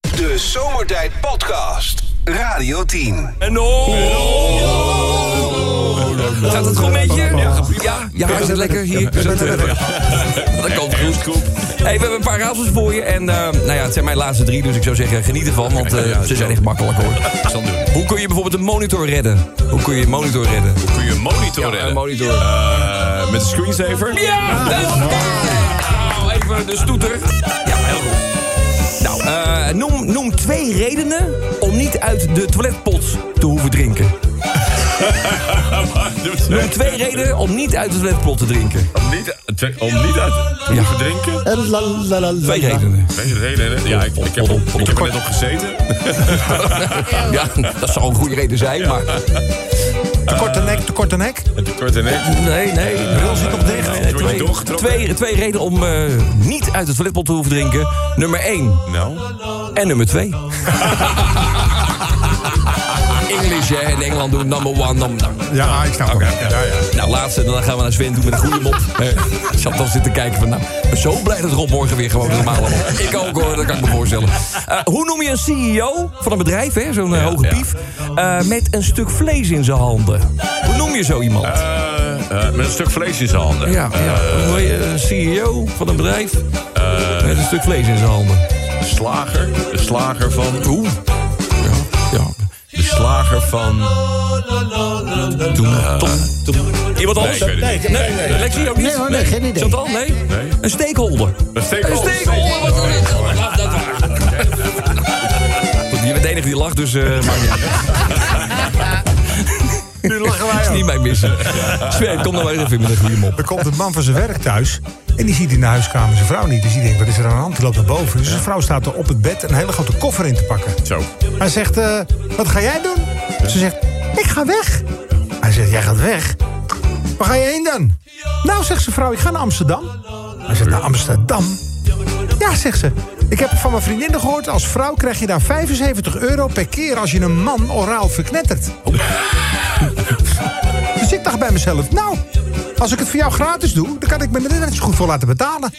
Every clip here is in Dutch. De Zomertijd Podcast. Radio 10. En oh! Gaat het goed met je? Ja, ja je haar zit lekker hier. Dat komt goed. Hey, we hebben een paar raadsels voor je. En eh, nou ja, het zijn mijn laatste drie, dus ik zou zeggen geniet ervan. Want eh, ze zijn echt makkelijk hoor. Hoe kun je bijvoorbeeld een monitor redden? Hoe kun je een monitor redden? Kun je een monitor redden? Een monitor. Eh, met een screensaver? Ja! dat is Nou, even de stoeter. Ja, heel goed. Nou, eh, noem, noem twee redenen om niet uit de toiletpot te hoeven drinken. Ah, Noem twee redenen om niet uit de toiletpot te drinken. Om niet, te- om niet uit te hoeven Eh. drinken? Twee redenen. Weet je de reden? hè? Ja, ik, ik, heb, ik heb er net op gezeten. Ja, dat zou een goede reden zijn, maar... Te korte nek, te korte nek. Het wordt in één- Nee, nee. de bril zit nog dicht. Nee, het wordt je Twee, doorgetrokken. twee, twee redenen om eh, niet uit de toiletpot te hoeven drinken. Nummer één Nou, en nummer twee. English, hè. In Engeland doen number one, number Ja, Ah, ik snap hem. Ja, ja. Nou, laatste, dan gaan we naar Sven toe met een goede mop. Eh, Ik zat al zitten kijken van, nou, ik ben zo blij dat Rob morgen weer gewoon een normale mop. Ik ook hoor, dat kan ik me voorstellen. Eh, hoe noem je een CEO van een bedrijf, hè, zo'n eh, hoge ja. pief, eh, met een stuk vlees in zijn handen? Hoe noem je zo iemand? eh, eh, met een stuk vlees in zijn handen. Eh, ja, ja. Hoe noem je een CEO van een bedrijf met een stuk vlees in zijn handen? De slager. De slager van... Oeh. Ja, ja. De slager van... Eh, Iemand anders? ik weet het niet. nee, nee. Lexi ook niet? Nee hoor, nee, geen idee. Chantal, nee? Nee. Een steekholder. Een steekholder. Een steekholder, wat is dit? Laat dat maar. Goed, Je bent de enige die lacht, dus eh maakt niet uit. Nu lachen wij is ook. dus niet mijn missen. Sven, kom nou even met een goede mop. Er komt een man van zijn werk thuis. En die ziet in de huiskamer zijn vrouw niet. Dus die denkt, wat is er aan de hand? Die loopt naar boven. Dus zijn vrouw staat er op het bed een hele grote koffer in te pakken. Zo. Hij zegt, eh, wat ga jij doen? Ze zegt, ik ga weg. Hij zegt, jij gaat weg? Waar ga je heen dan? Nou, zegt zijn vrouw, ik ga naar Amsterdam. Hij zegt, naar Amsterdam? Ja, zegt ze. Ik heb van mijn vriendinnen gehoord, als vrouw krijg je daar 75 euro per keer als je een man oraal verknettert. Dus ik dacht bij mezelf, nou, als ik het voor jou gratis doe, dan kan ik me er net zo goed voor laten betalen.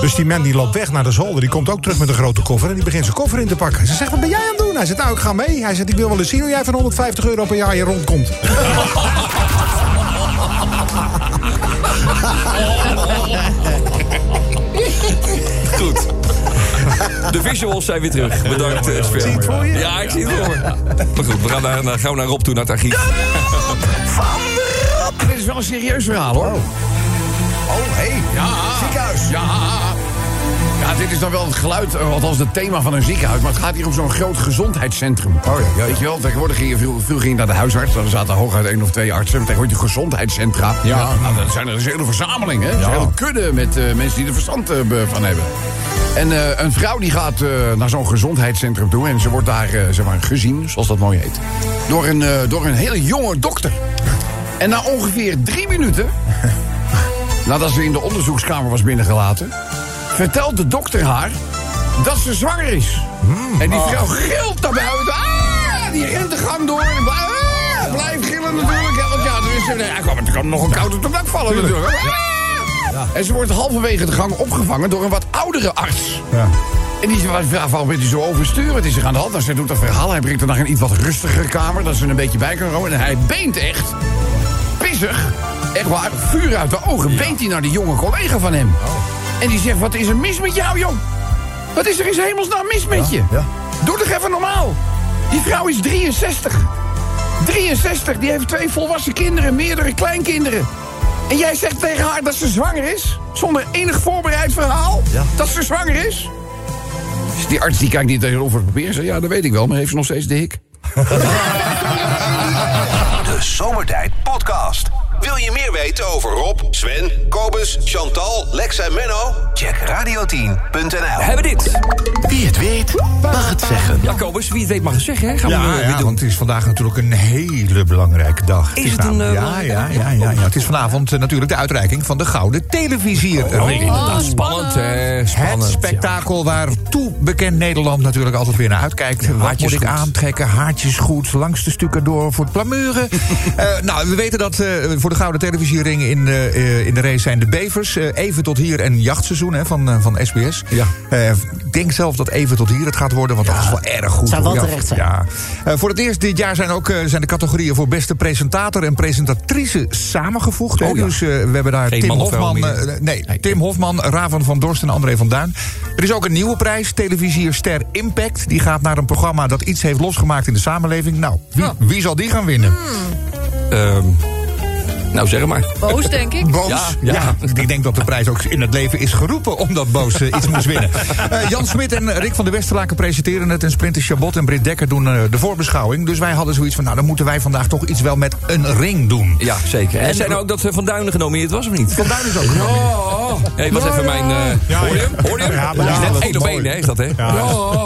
Dus die man die loopt weg naar de zolder, die komt ook terug met een grote koffer en die begint zijn koffer in te pakken. Ze zegt, wat ben jij aan het doen? Hij zegt, nou, ik ga mee. Hij zegt, ik wil wel eens zien hoe jij van 150 euro per jaar hier rondkomt. Goed. De visuals zijn weer terug. Bedankt, eh, Sven. Zie je het voor je? Ja, ik zie het voor me. Maar goed, we gaan, naar, naar- gaan we naar Rob toe, naar het archief. Dit is wel een serieus verhaal hoor. Oh, hé. Ja. Ziekenhuis. Ja. Ja, dit is dan wel het geluid, eh, althans het thema van een ziekenhuis. Maar het gaat hier om zo'n groot gezondheidscentrum. Oh ja. Weet je wel, tegenwoordig ging je, vroeger, vroeger ging je naar de huisarts. Dan zaten hooguit één of twee artsen. Maar tegenwoordig gezondheidscentra. Ja. Nou, dat zijn er dat is een hele verzameling, hè. Dat is een hele kudde met eh, mensen die er verstand eh, be- van hebben. En eh, een vrouw die gaat eh, naar zo'n gezondheidscentrum toe. En ze wordt daar, eh, zeg maar, gezien, zoals dat mooi heet. Door een, eh, door een hele jonge dokter. En na ongeveer drie minuten Nadat ze in de onderzoekskamer was binnengelaten, vertelt de dokter haar dat ze zwanger is. en die vrouw gilt naar buiten. Ah, die rent de gang door. En bla- ah, blijft gillen natuurlijk. Ja, Want ja, er is, nee, er kan- er kan nog een koude tabak vallen natuurlijk. Ah. En ze wordt halverwege de gang opgevangen door een wat oudere arts. En die vraagt waarom bent u zo overstuur? Wat is er aan de hand? Nou, zij doet dat verhaal. Hij brengt haar naar een iets wat rustigere kamer, dat ze er een beetje bij kan komen. En hij beent echt pissig. Echt waar, vuur uit de ogen. Beent hij naar die jonge collega van hem. En die zegt, wat is er mis met jou, jong? Wat is er in hemelsnaam mis met je? Doe toch even normaal. Die vrouw is 63. 63, die heeft twee volwassen kinderen, meerdere kleinkinderen. En jij zegt tegen haar dat ze zwanger is? Zonder enig voorbereid verhaal? Dat ze zwanger is? Dus die arts die kijkt niet tegenover het papier. Zegt, ja, dat weet ik wel, maar heeft ze nog steeds de hik? De Zomertijd Podcast. Wil je meer weten over Rob, Sven, Kobus, Chantal, Lex en Menno? Check radio10.nl. Hebben dit. Wie het weet, mag mag het zeggen. Jacobus, wie het weet mag het zeggen, hè? Gaan we Ja, eh, weer ja doen. want het is vandaag natuurlijk een hele belangrijke dag. Is het een, namelijk- eh, ja, ja, ja, ja, ja. Het is vanavond eh, natuurlijk de uitreiking van de Gouden Televisier. Oh, Ring. inderdaad, spannend, hè? Het Spannend. spektakel waar toe bekend Nederland natuurlijk altijd weer naar uitkijkt. Wat haartjes moet ik goed. aantrekken? Haartjes goed, langs de stukken door voor het plamuren. Eh, nou, we weten dat eh, voor de Gouden Televisiering in, eh, eh, in de race zijn de bevers. Eh, even tot hier en jachtseizoen hè, van, eh, van SBS. Ja. Eh, ik denk zelf dat even tot hier het gaat worden, want dat is wel erg goed. Zou hoor. wel Ja, terecht zijn. Ja. Eh, voor het eerst dit jaar zijn ook eh, zijn de categorieën voor beste presentator en presentatrice samengegevoegd. hè. Oh ja. Dus eh, we hebben daar Geen Tim man of vrouw Hofman, meer. eh, eh, nee, Tim Hofman, Raven van Dorst en André van Duin. Er is ook een nieuwe prijs, televisie Ster Impact. Die gaat naar een programma dat iets heeft losgemaakt in de samenleving. Nou, wie, wie zal die gaan winnen? Ehm, nou, zeg maar. Boos, denk ik. Boos? Ja, Ja, ja. Ik denk dat de prijs ook in het leven is geroepen omdat Boos eh, iets moest winnen. Eh, Jan Smit en Rick van der Westerlaken presenteren het. En Sprinter Chabot en Britt Dekker doen eh, de voorbeschouwing. Dus wij hadden zoiets van, nou dan moeten wij vandaag toch iets wel met een ring doen. Ja, zeker. En zei nou ook dat eh, Van Duinen genomineerd was, of niet? Van Duin is ook Ja. Hey, was even mijn... eh hoor je hem? Hoor je hem? Ja, maar Dat is ja, net dat één is op mooi. één, hè? Is dat, hè? Ja,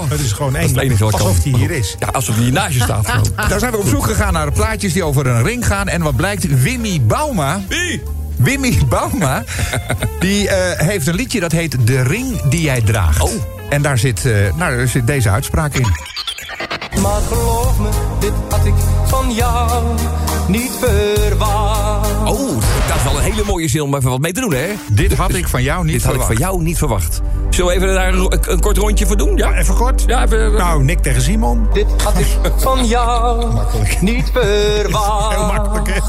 Het is gewoon is één. het enige wat kan. Alsof die hier is. Ja, alsof die naast je staat. gewoon. Daar zijn we op zoek gegaan naar plaatjes die over een ring gaan. En wat blijkt, Wimmy Bauma... Wie? Wimmy Bauma, die eh, heeft een liedje dat heet De Ring Die Jij Draagt. Oh. En daar zit, eh, nou, daar zit deze uitspraak in. Maar geloof me, dit had ik van jou niet verwacht. Oh, dat is wel een hele mooie zin om even wat mee te doen, hè? Dit had ik van jou niet Dit had ik verwacht. van jou niet verwacht. Zullen we even daar een, ro- een kort rondje voor doen? Ja, Even kort. ja even... Nou, Nick tegen Simon. Dit had ik van jou niet verwacht. Heel makkelijk, hè?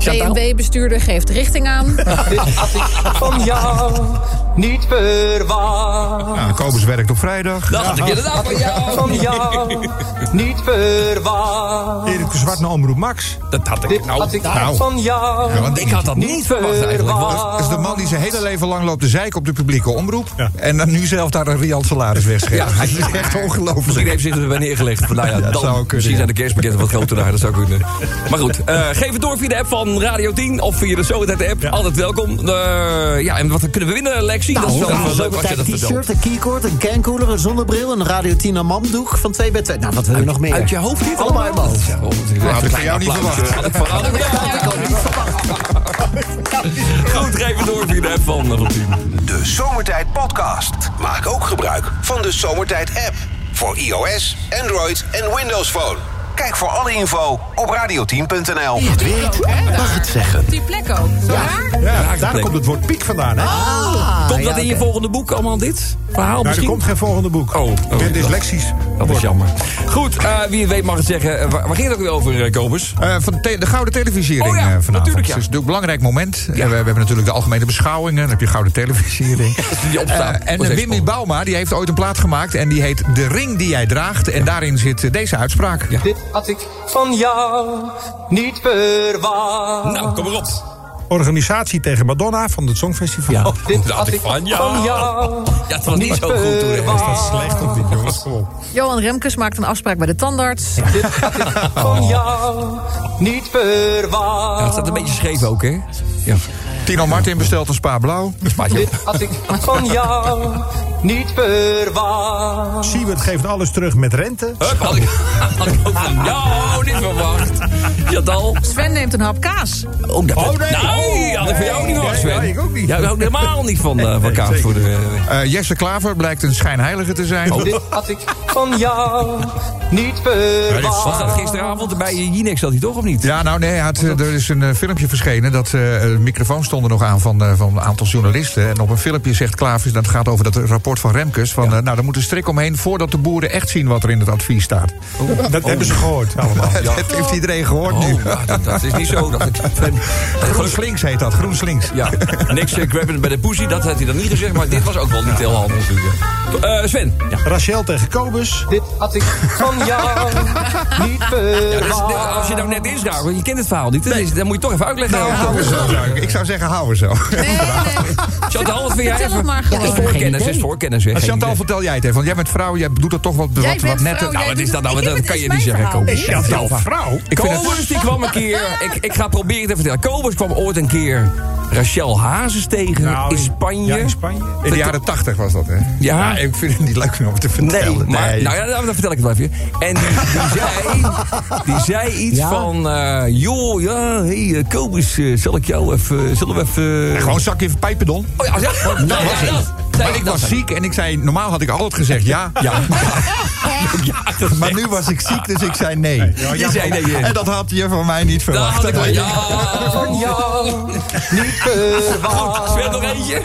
BMW-bestuurder geeft richting aan. Dit had ik van jou niet verwacht. Nou, Kobus werkt op vrijdag. Dat had ik inderdaad van jou. Van jou niet verwacht. Erik de Zwart naar Omroep Max. Dat had ik Dit nou. had ik nou. van jou Ja, want Ik had dat niet verwacht eigenlijk. want- Dat is de man die zijn hele leven lang loopt te zeiken op de publieke omroep. Ja. En dan nu zelf daar een riant salaris wegschrijft. Ja. Ja, is echt Misschien ongelooflijk. heeft zich erbij neergelegd. van, Nou ja, dat dan, zou kunnen, misschien ja. zijn de kerstpakketten wat groter daar. Dat zou kunnen. Maar goed, eh, geef het door via de app van Radio 10 of via de Zoetet app. Altijd welkom. Eh, ja, en wat kunnen we winnen, Lexi? dat is Nou, wel wel leuk als je zometeen dat een vertelt. t-shirt, een keycord, een cancooler, een zonnebril... een Radio 10 amanddoek van 2 bij 2. Nou, wat wil je nog meer? Uit je hoofd dit Allemaal uit mijn hoofd. Ja, oh, dat is echt Had een ik van klein jou niet applaus. verwacht. Had ik van- had ik- Goed, geef het door via de app van Radio 10. De Zomertijd Podcast. Maak ook gebruik van de Zomertijd app. Voor iOS, Android en Windows Phone. Kijk voor alle info op radio10.nl. Die plek ook, hè, daar. Mag het zeggen. Die plek ook. Zo raar? Ja, Raak de daar plek. komt het woord piek vandaan, hè? Ah, Ah, Komt dat in je volgende boek allemaal, dit verhaal Nou, er misschien? komt geen volgende boek. Oh, ik oh, ben dyslexisch. Dat is jammer. Goed, eh, wie het weet mag het zeggen. Eh, Waar, waar ging het ook weer over, eh, Kobus? Eh, van de, te- de Gouden Televisiering Oh ja, eh, vanavond. natuurlijk, ja. Dus natuurlijk een belangrijk moment. Eh, we, we hebben natuurlijk de algemene beschouwingen. Dan heb je Gouden Televisiering. Die opstaat. Eh, en Dat is eh, echt Wimmy Bauma die heeft ooit een plaat gemaakt. En die heet De Ring Die Jij Draagt. En daarin zit eh, deze uitspraak. Dit had ik van jou niet verwacht. Nou, kom maar op. Organisatie tegen Madonna van het Songfestival. Ja. Dit Dat had ik ik van van jou. jou. Ja, het was niet zo goed toen. hè. Slecht op dit, jongens. Kom op. Johan Remkes maakt een afspraak bij de tandarts. Dit had ik van jou niet Ja, het staat verwacht. een beetje scheef ook, hè? Ja. Tino Martin bestelt een spa blauw. Dit had ik van jou niet verwacht. Siewert geeft alles terug met rente. Hup, had ik, had ik ook van jou niet verwacht. Jadal. Sven neemt een hap kaas. Oh, dat Oh, nee. nee, had ik van jou niet Nee, verwacht, nee, Sven. nee, ik ook niet. Jij houdt helemaal niet van, eh, van kaas voor de... eh, Eh, Jesse Klaver blijkt een schijnheilige te zijn. Oh. Dit had ik van jou niet Was dat verwacht. gisteravond bij Jinex zat hij toch, of niet? Ja, nou nee, hij had, eh, er is een eh, filmpje verschenen. Dat eh, eh, microfoons stonden nog aan van, eh, van een aantal journalisten. En op een filmpje zegt Klavers, dat gaat over dat rapport van Remkes. Van, eh, nou, daar moet een strik omheen voordat de boeren echt zien wat er in het advies staat. Dat hebben ze gehoord Nou, allemaal. Dat heeft iedereen gehoord nu. Oh, nou, dat, dat is niet zo. Dat, Sven, Groen slinks heet dat, groen slinks. Oh. Ja, niks eh, grabbing bij de poesie, dat had hij dan niet gezegd. Maar dit was ook wel niet heel handig natuurlijk. Eh, Sven, ja. Rachel tegen Kobus. Dit had ik van jou niet dus, eh, verwacht. als je nou net inschakelt, want je kent het verhaal niet. Dan, is- dan moet je toch even uitleggen. Nou, Ja. hou er zo. Ik zou zeggen, hou er zo. Nee, nee. Chantal, wat vind jij Vertel het even? maar gewoon. ik heb geen Voorkennis is idee. voorkennis, hè? Maar Geen Chantal, idee. vertel jij het even. Want jij bent vrouw, jij doet dat toch wat, Jij wat, wat bent netter. vrouw, Nou, jij Nou, wat is dat doet het- nou? ik Dat heb het kan is je niet mijn zeggen, verhaal. Kobus. Dit is Chantal, vrouw? Ik vind het... Kobus die kwam een keer. Ik, ik ga proberen te vertellen. Kobus kwam ooit een keer Rachel Hazes tegen Nou, in Spanje. Ja, in Spanje. In de jaren tachtig was dat, hè? Ja. Ik vind het niet leuk om te Nee, vertellen. maar nou ja, dan vertel ik het wel even. En die, die, zei, die zei iets Ja? van... eh, joh, ja, hey, eh, Kobus, eh, zal ik jou even... Zullen we even... Gewoon een zakje van pijpendon. Oh ja, ja. dat Nou, was Maar ik was ziek en ik zei, normaal had ik altijd gezegd ja, ja. Maar nu was ik ziek, dus ik zei nee. Je zei nee. En dat had je Nou, van mij niet Daar verwacht. had ik wel. Ja. bewaar. Sven, nog eentje.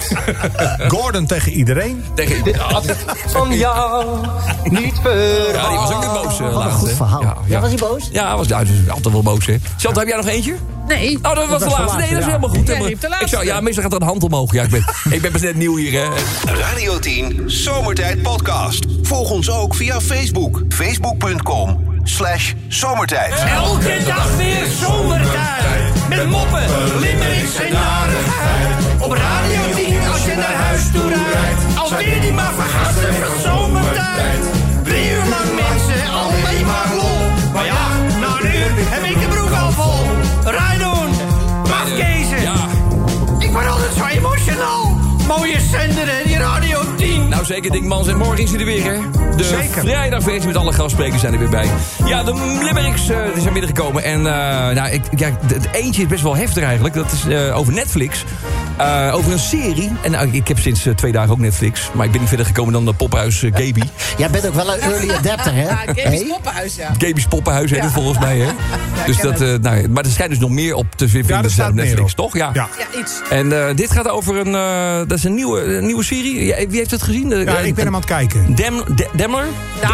Eh, Gordon tegen iedereen. Tegen, ja, Van jou niet verwaar. die was ook weer Wat boos. eh, een laatst, goed hè. verhaal. Ja, ja. Ja, was hij boos? Ja, hij was ja, hij is altijd wel boos, hè. Chantal, heb jij nog eentje? Nee. Oh, dat was de laatste. Nee, dat is helemaal goed. Jij Helemaal- riep de laatste. Ik zou, ja, meestal gaat er een hand omhoog. Ja, ik ben, ik ben pas net nieuw hier, hè. Radio 10 Zomertijd Podcast. Volg ons ook via Facebook. Facebook.com slash zomertijd. Elke dag weer zomertijd. Met moppen, limmerings en narigheid. Op Radio 10 als je naar huis toe rijdt. Alweer die maar vergassen van zomertijd. Drie uur lang mensen, alleen maar lol. Maar ja, na een uur heb ik de broek al vol. Rijdoen, mafkezen. Ja. Ik word altijd zo emotional. Mooie zender hè, die Radio 10. Nou zeker, Dinkmans. En morgen is hij er weer, hè? De vrijdagversie met alle gastsprekers zijn er weer bij. Ja, de Limericks eh, die zijn binnengekomen. En eh, nou, ik, ja, d- het eentje is best wel heftig eigenlijk. Dat is eh, over Netflix. Eh, over een serie. En nou, ik heb sinds eh, twee dagen ook Netflix. Maar ik ben niet verder gekomen dan de pophuis eh, Gaby. Jij bent ook wel een early adapter, hè? Ja, Gaby's Hey? poppenhuis, ja. Gaby's poppenhuis heet het volgens mij, hè? dus ken dat, eh, nou, maar er schijnt dus nog meer op te vinden Ja, er op staat meer Netflix, op. toch? Ja. Ja. Ja, iets. En eh, dit gaat over een... eh, dat is een nieuwe, een nieuwe serie. Ja, wie heeft het gezien? Eh, Ja, ik ben eh, hem aan het kijken. Dem, De- Demmer?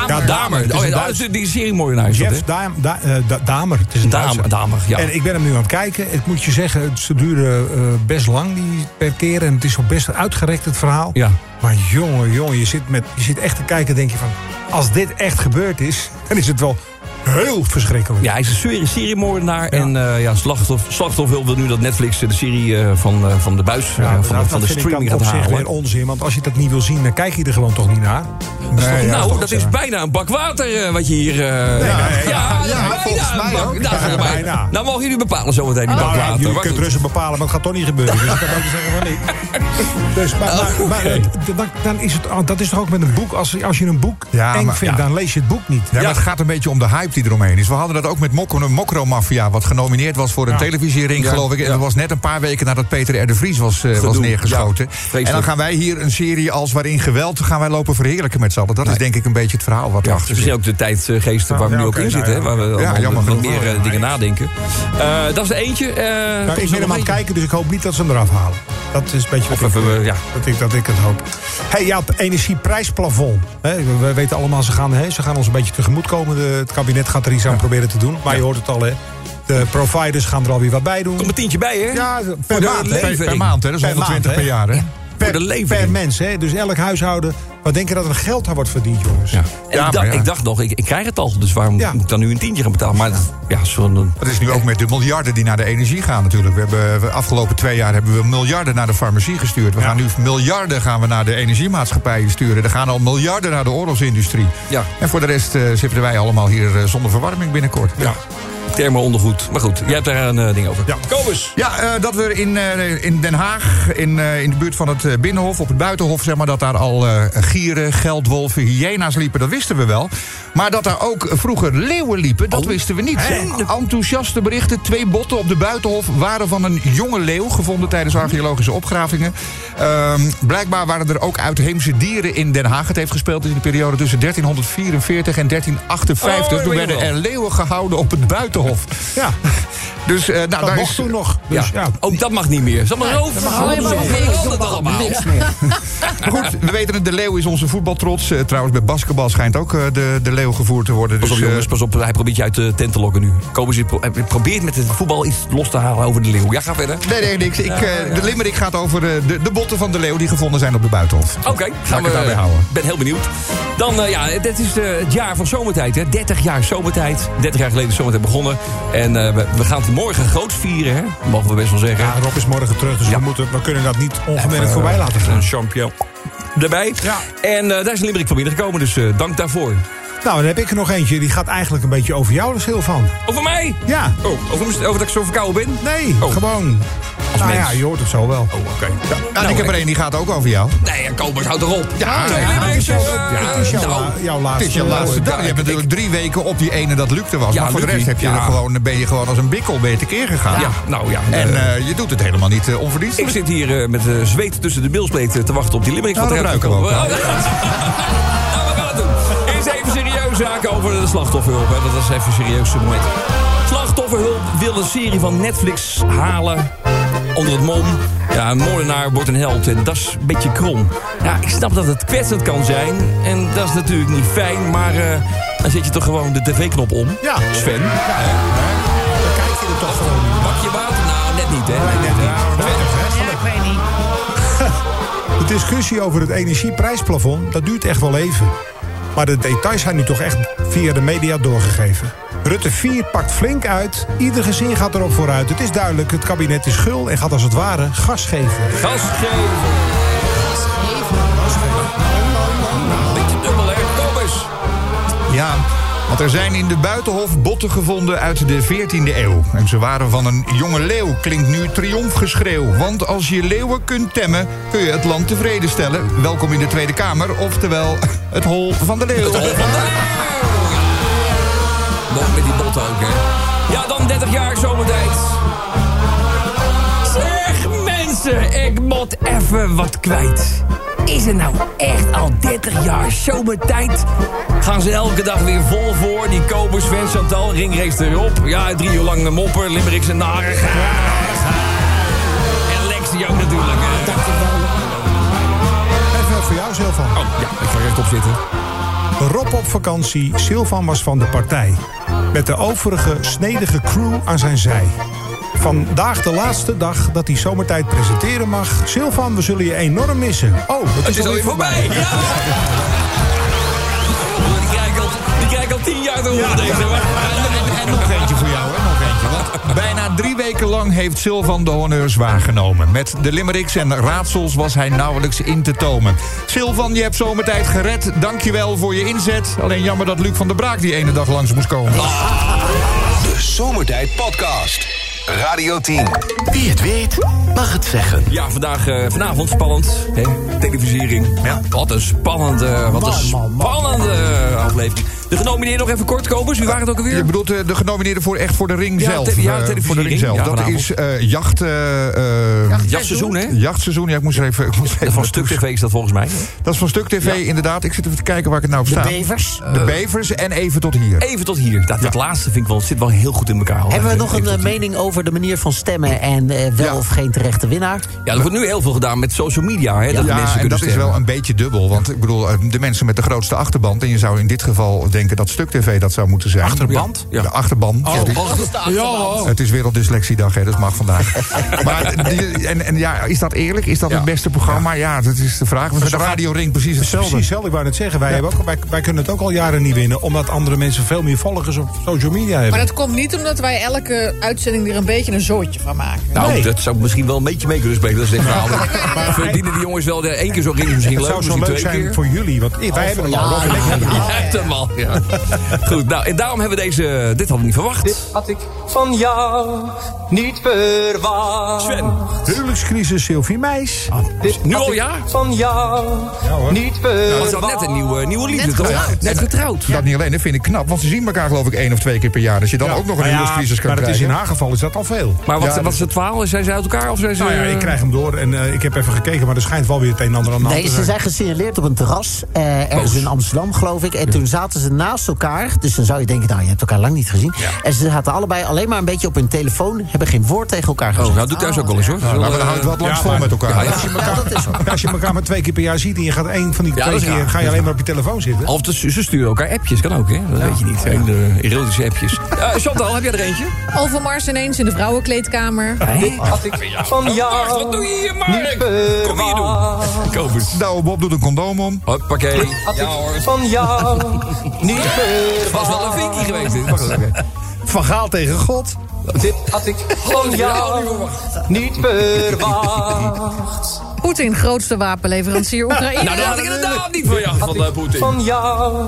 Ja, Damer. Het is Oh, een ja, Duits- dat is die serie moordenaar. is dat, Jeff hè? Daam- Da- eh, Da- Damer. Het is een Damer, Duitser. Damer, ja. En ik ben hem nu aan het kijken. Ik moet je zeggen, ze duren eh, best lang die per keer. En het is ook best uitgerekt, het verhaal. Ja. Maar jongen, jongen, je zit, met, je zit echt te kijken en denk je van... als dit echt gebeurd is, dan is het wel heel verschrikkelijk. Ja, hij is een serie, seriemoordenaar. En eh, ja, slachtoffer, slachtoffer wil nu dat Netflix eh, de serie eh, van, eh, van de buis, eh, Nou, van, dat van de vind ik dan streaming gaat op zich halen. weer onzin. Want als je dat niet wil zien, dan kijk je er gewoon toch niet naar. Nee, ja, nou, toch dat zo. is bijna een bak water eh, wat je hier... eh, ja, dat is ja, bijna volgens een mij bak- ook. Nou, Ja, volgens mij. bijna. Nou mogen jullie bepalen zometeen die bak Nou, ja, water. jullie Maar kunt goed. rustig bepalen, maar het gaat toch niet gebeuren. Dus ik kan ook niet zeggen van niet. Dus, maar, maar, maar, Oh, Oké. d- dan, dan is het, oh, dat is toch ook met een boek. Als, als je een boek Ja, eng maar- vindt, ja. dan lees je het boek niet. Ja, maar het gaat een beetje om de hype die eromheen is. We hadden dat ook met Mokro, Mokro Mafia, wat genomineerd was voor een televisiering, geloof ik. En dat was net een paar weken nadat Peter R. de Vries was, eh, was Gedoe, neergeschoten. ja. Vreselijk. en dan gaan wij hier een serie als waarin geweld gaan wij lopen verheerlijken met z'n allen. Dat is denk ik een beetje het verhaal wat Ja, het is erachter misschien zit. ook de tijdsgeesten waar we Ja, nu ook oké, in nou zitten. hè, ja. Waar we allemaal jammer wat genoeg. meer eh, dingen nadenken. Eh, dat is er eentje. eh, Nou, Tom, ik zo nog ben hem aan het eentje. kijken, dus ik hoop niet dat ze hem eraf halen. Dat is een beetje wat, Of ik, even, eh, ja. dat, ik, dat ik het hoop. hey, ja, het energieprijsplafond. Hè, we- we weten allemaal, ze gaan, hè, ze gaan ons een beetje tegemoetkomen. De, het kabinet gaat er iets aan proberen te doen. Maar je hoort het al, hè. De providers gaan er alweer wat bij doen. Komt een tientje bij, hè? Ja, per Per, maand, hè. per, levering. maand, hè? Dat is Per maand, 120 per hè? jaar, hè? Voor de Per, levering. mens, hè? Dus elk huishouden. Wat denk je dat er geld aan wordt verdiend, jongens? En Ja, ik, dacht, maar ja. ik dacht nog, ik, ik krijg het al, dus waarom Ja. moet ik dan nu een tientje gaan betalen? Maar dat- ja, zo'n... Dat is nu ook met de miljarden die naar de energie gaan natuurlijk. We hebben de afgelopen twee jaar hebben we miljarden naar de farmacie gestuurd. We gaan nu miljarden gaan we naar de energiemaatschappijen sturen. Er gaan al miljarden naar de oorlogsindustrie. Ja. En voor de rest eh, zitten wij allemaal hier eh, zonder verwarming binnenkort. Ja. Thermo ondergoed. Maar goed, jij hebt daar een eh, ding over. Ja. Kobus! Ja, eh, dat we in, eh, in Den Haag, in, eh, in de buurt van het eh, Binnenhof, op het Buitenhof, zeg maar, dat daar al eh, gieren, geldwolven, hyena's liepen, dat wisten we wel. Maar dat daar ook vroeger leeuwen liepen, Oh. dat wisten we niet. Enthousiaste berichten, twee botten op de Buitenhof waren van een jonge leeuw, gevonden tijdens archeologische opgravingen. Ehm, blijkbaar waren er ook uitheemse dieren in Den Haag. Het heeft gespeeld in de periode tussen 1344 en Oh, 1358. Toen weet je werden er wel. leeuwen gehouden op het Buitenhof. Ja. Dus eh, nou, Dat daar mocht is, toen nog. Ja. Dus, ja. ook dat mag niet meer. Zal maar over. dat allemaal. Maar goed, we weten het, de leeuw is onze voetbaltrots. Eh, trouwens, bij basketbal schijnt ook eh, de, de leeuw gevoerd te worden. Pas op Dus, eh, jongens, pas op. Hij probeert je uit de tent te lokken nu. Kobus hij pro- hij probeert met het voetbal iets los te halen over de leeuw. Ja, ga verder. Nee, nee, niks. Ik, eh, De limerick gaat over eh, de, de botten van de leeuw die gevonden zijn op de buitenhof. Oké, gaan ik we het daarbij houden. Ben heel benieuwd. eh, Dan, eh, ja, dit is eh, het jaar van zomertijd, hè? 30 jaar zomertijd. 30 jaar geleden is zomertijd begonnen. uitgezonden. En eh, we, we gaan het morgen groot vieren, hè? mogen we best wel zeggen. Eh, Ja, Rob is morgen terug, dus we, moeten, we kunnen dat niet ongemerkt voorbij laten gaan. Een champion erbij. En eh, daar is een Limerick van binnengekomen, dus eh, dank daarvoor. Nou, dan heb ik er nog eentje. Die gaat eigenlijk een beetje over jou, dus heel van. Over mij? Ja. Oh, over, over dat ik zo verkouden ben? Nee, gewoon. Oh. Als nou mens. ja, je hoort het zo wel. Oh, oké. eh, Nou, ik heb er één, die gaat ook over jou. Nee, ja, Kobus, houd erop. Ja, Twee ja, Limericks, Het is jouw, eh, het is jouw, nou. la- jouw Het laatste, is je laatste dag. Je hebt natuurlijk drie weken op die ene dat lukte was. Ja, maar voor de Lucky. rest heb je Ja. er gewoon, ben je gewoon als een bikkel beter keer gegaan. Ja, nou ja. En eh, eh, je doet het helemaal niet eh, ik onverdienstelijk. zit hier eh, met eh, zweet tussen de bilspleten te wachten op die Limerick. Nou, want dat er ruiken we gaat- Nou, we gaan het doen. Eerst even serieus zaken over de slachtofferhulp. Hè. Dat was even een serieus moment. Slachtofferhulp wil een serie van Netflix halen. Onder het mom. Ja, een moordenaar wordt een held. En dat is een beetje krom. Ja, ik snap dat het kwetsend kan zijn. En dat is natuurlijk niet fijn. Maar eh, dan zet je toch gewoon de tv-knop om. Ja. Sven. Pak je water? Nou, net niet, hè? Net niet. Ja, ik weet niet. De discussie over het energieprijsplafond, dat duurt echt wel even. Maar de details zijn nu toch echt via de media doorgegeven. Rutte 4 pakt flink uit. Ieder gezin gaat erop vooruit. Het is duidelijk, het kabinet is gul en gaat als het ware gas geven. Gas geven. Beetje dubbel, hè? Thomas. Ja, want er zijn in de Buitenhof botten gevonden uit de 14e eeuw. En ze waren van een jonge leeuw, klinkt nu triomfgeschreeuw. Want als je leeuwen kunt temmen, kun je het land tevreden stellen. Welkom in de Tweede Kamer, oftewel het hol van de leeuw. Mooi met die bot ook, hè? Ja, dan 30 jaar zomertijd. Zeg mensen, ik moet even wat kwijt. Is het nou echt al 30 jaar zomertijd? Gaan ze elke dag weer vol voor? Die kopers, Sven, Chantal, ringrace erop. Ja, drie uur lang moppen, limericks en narigheid. En Lexi ook natuurlijk. hè. Even voor jou, Silvan. Oh, ja, ik ga rechtop zitten. Rob op vakantie, Silvan was van de partij. Met de overige snedige crew aan zijn zij. Vandaag de laatste dag dat hij zomertijd presenteren mag. Silvan, we zullen je enorm missen. Oh, het is, Het is alweer voorbij. Ja. Oh, Die krijg ik al- die krijg ik al tien jaar te horen deze. maar- En nog eentje voor jou, hè? Nog eentje. Want bijna drie weken lang heeft Silvan de honneurs waargenomen. Met de limericks en raadsels was hij nauwelijks in te tomen. Silvan, je hebt zomertijd gered. Dankjewel voor je inzet. Alleen jammer dat Luc van der Braak die ene dag langs moest komen. De Zomertijd Podcast. Radio 10. Wie het weet, mag het zeggen. Ja, vandaag, eh, vanavond spannend. Hè? Televisiering. Ja. Wat een spannende, wat een spannende eh, aflevering. De genomineerden nog even kort, Kobus. Wie waren het ook alweer? Je bedoelt eh, de genomineerden voor echt voor de ring Ja, zelf. te- ja, eh, televisiering. voor de ring zelf. Ja, dat vanavond. is eh, jacht, eh, eh, Jachtseizoen, hè? Jachtseizoen, ja, ik moest er even... Ik moest even Van Stuk TV is dat volgens mij. Dat is van Stuk TV, inderdaad. Ik zit even te kijken waar ik het nou op sta. Bevers. De bevers en even tot hier. Even tot hier. Dat, dat laatste vind ik wel, zit wel heel goed in elkaar. al. Hebben we Even- nog even een eh, tot hier. mening over de manier van stemmen en eh, wel Ja. of geen terechte winnaar? Ja, er wordt nu heel veel gedaan met social media. Hè, dat Ja, mensen en kunnen dat is stemmen. wel een beetje dubbel. Want ik bedoel, eh, de mensen met de grootste achterband... en je zou in dit geval denken dat Stuk TV dat zou moeten zijn. Achterband? Ja, Ja. Oh, de achterban. Ja, die- Het is Werelddyslectiedag, hè, dat mag vandaag. maar die- en, en ja, is dat eerlijk? Is dat het beste programma? Ja, dat is de vraag. Want met de Radio Ring precies Precies hetzelfde. hetzelfde, ik wou net zeggen. Wij, hebben ook, wij, wij kunnen het ook al jaren niet winnen... omdat andere mensen veel meer volgers op social media hebben. Maar dat komt niet omdat wij elke uitzending er een beetje een zootje van maken. Nou, Nee. dat zou misschien wel een beetje mee kunnen spelen. Dat is echt verhaal. Maar verdienen die jongens wel de één keer zo ring misschien het leuk, zou zo misschien leuk twee zijn keer. voor jullie, want wij hebben het al. Rob en ik hebben het al. Ja, de man. Ja. Goed, nou, en daarom hebben we deze... Dit hadden we niet verwacht. Had ik van jou niet verwacht. Sven, Huwelijkscrisis Sylvie Meis. Dit nu had al ik ja? Van jou hoor. niet was verwacht. dat net een nieuwe, nieuwe liefde, toch? getrouwd. Net getrouwd. Dat niet alleen, dat vind ik knap. Want ze zien elkaar geloof ik één of twee keer per jaar. Dat je dan ook nog een Nou ja, huwelijkscrisis kan Maar het is krijgen. in haar geval is dat al veel. Maar Ja, wat, dat- wat is het verhaal? Zijn ze uit elkaar of zijn ze... Nou ja, eh, ik krijg hem door en eh, ik heb even gekeken, maar er schijnt wel weer het een en ander aan de hand Nee, te ze zijn. zijn gesignaleerd op een terras. eh, Oh. ergens in Amsterdam, geloof ik. En toen zaten ze naast elkaar. Dus dan zou je denken, nou, je hebt elkaar lang niet gezien. En ze zaten allebei alleen maar een beetje op hun telefoon. Hebben geen woord tegen elkaar gezegd. Oh, nou doe ik thuis ook wel eens, hoor. eh, Maar we houden het wat langs Ja, vol maar- met elkaar. Ja, ja. Als je, Ja, dat is zo. elkaar, als je elkaar maar twee keer per jaar ziet en je gaat één van die Ja, twee dat is keer... raar. ga je alleen maar op je telefoon zitten. Of de- ze sturen elkaar appjes, kan ook, hè? Dat weet je niet. Hele erotische appjes. Eh, Chantal, heb jij er eentje? Overmars ineens in de vrouwenkleedkamer. Had ik van Mark, wat doe jou je hier, Mark? Nou. niet Kom hier doen. verwacht. Koop eens. Nou, Bob doet een condoom om. Hoppakee. Had ik van jou niet Het was verwacht. wel een vinkie geweest, dit. Wacht eens even. Van Gaal tegen God. Dit had ik van jou niet verwacht. Poetin, grootste wapenleverancier Oekraïne. Nou, dat had ik inderdaad niet van jou, van eh, Poetin. Van jou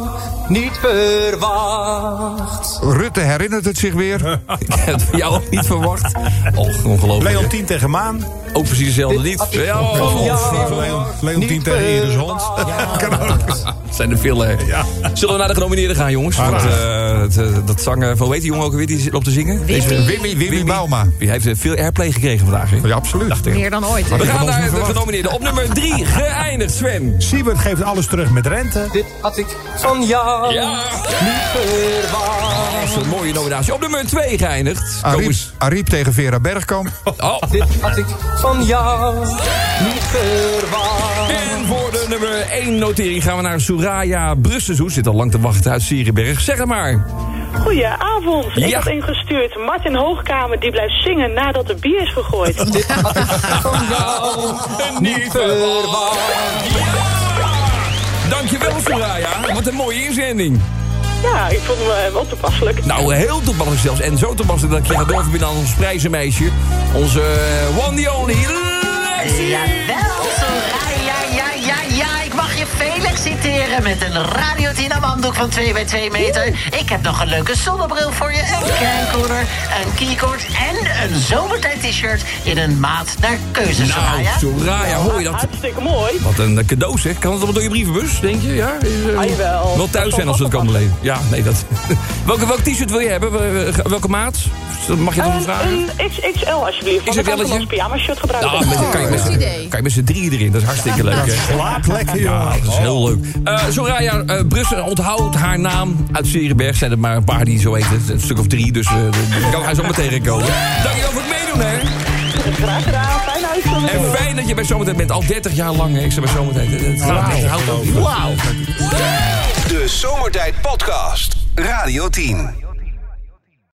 niet verwacht. Rutte herinnert het zich weer. Ik had van jou ook niet verwacht. Oh, ongelooflijk. Leon 10 tegen Maan. Ook precies hetzelfde niet. Ja, Van oh, jou eh, Leon, Leon 10 niet tegen Iris Hond. verwacht. het oh, zijn er veel, hè. Zullen we naar de genomineerden gaan, jongens? Want, eh, het, eh, dat zangen van, weet die jongen ook weer die zit op te zingen? Wimmy, Wimmy, Bauma. Die heeft eh, veel airplay gekregen vandaag, hè? Ja, absoluut. Meer dan ooit. We gaan ons niet naar de verwacht. genomineerden. Op nummer 3 geëindigd, Sven. Siebert geeft alles terug met rente. Dit had ik van jou Ja. niet verwacht. Dat is een mooie nominatie. Op nummer 2 geëindigd. Ariep, Komens. Ariep tegen Vera Bergkamp. Oh. Dit had ik van jou niet verwacht. En voor de nummer 1 notering gaan we naar Soraya Brussenhoes. Zit al lang te wachten uit Sierenberg. Zeg het maar. Goedenavond. Ik Ja. had ingestuurd Martin Hoogkamer die blijft zingen nadat er bier is gegooid. Van jou niet verwacht. Dankjewel Soraya. Wat een mooie inzending. ja, ik vond hem eh, wel toepasselijk. Nou, heel toepasselijk zelfs. En zo toepasselijk dat ik je ga doorverbinden aan ons prijzenmeisje. Onze eh, one the only Lexi. Jawel, Soraya, ja, ja, ja. Ik mag je Felix citeren met een Radio Tina handdoek van 2 bij 2 meter. Ik heb nog een leuke zonnebril voor je, een camcorder, een keycord en een zomertijd t-shirt in een maat naar keuze, Nou, Soraya. Soraya, hoor je dat? Hartstikke mooi. Wat een eh, cadeau zeg. Kan het allemaal door je brievenbus, denk je? Ja? Is, eh, Ah, jawel. Wel thuis zijn als ze het kan beleven. Ja, nee, dat... welke welk t-shirt wil je hebben? Wel- Welke maat? Dat Mag je dat nog Ehm, Een, vragen? een XXL alsjeblieft. Want ik kan ik hem XXL'tje? als pyjama shirt gebruiken. Nou, met, kan, je met, goed idee. kan je met z'n drieën erin. Dat is hartstikke leuk. hè? Slaap lekker, joh. Dat is heel leuk. Eh, Soraya eh Brussen onthoudt haar naam. Uit Zerenberg zijn er maar een paar die zo heet. Het is Een stuk of drie, dus eh, daar kan hij zomaar tegenkomen. Dankjewel voor het meedoen, hè. Graag gedaan. Fijne uitzending. En fijn dat je bij Zometeen bent. Al 30 jaar lang. hè. Ik zeg bij Zometeen. Het- Het gaat echt. Houdt op. Wauw. De Zomertijd Podcast. Radio 10.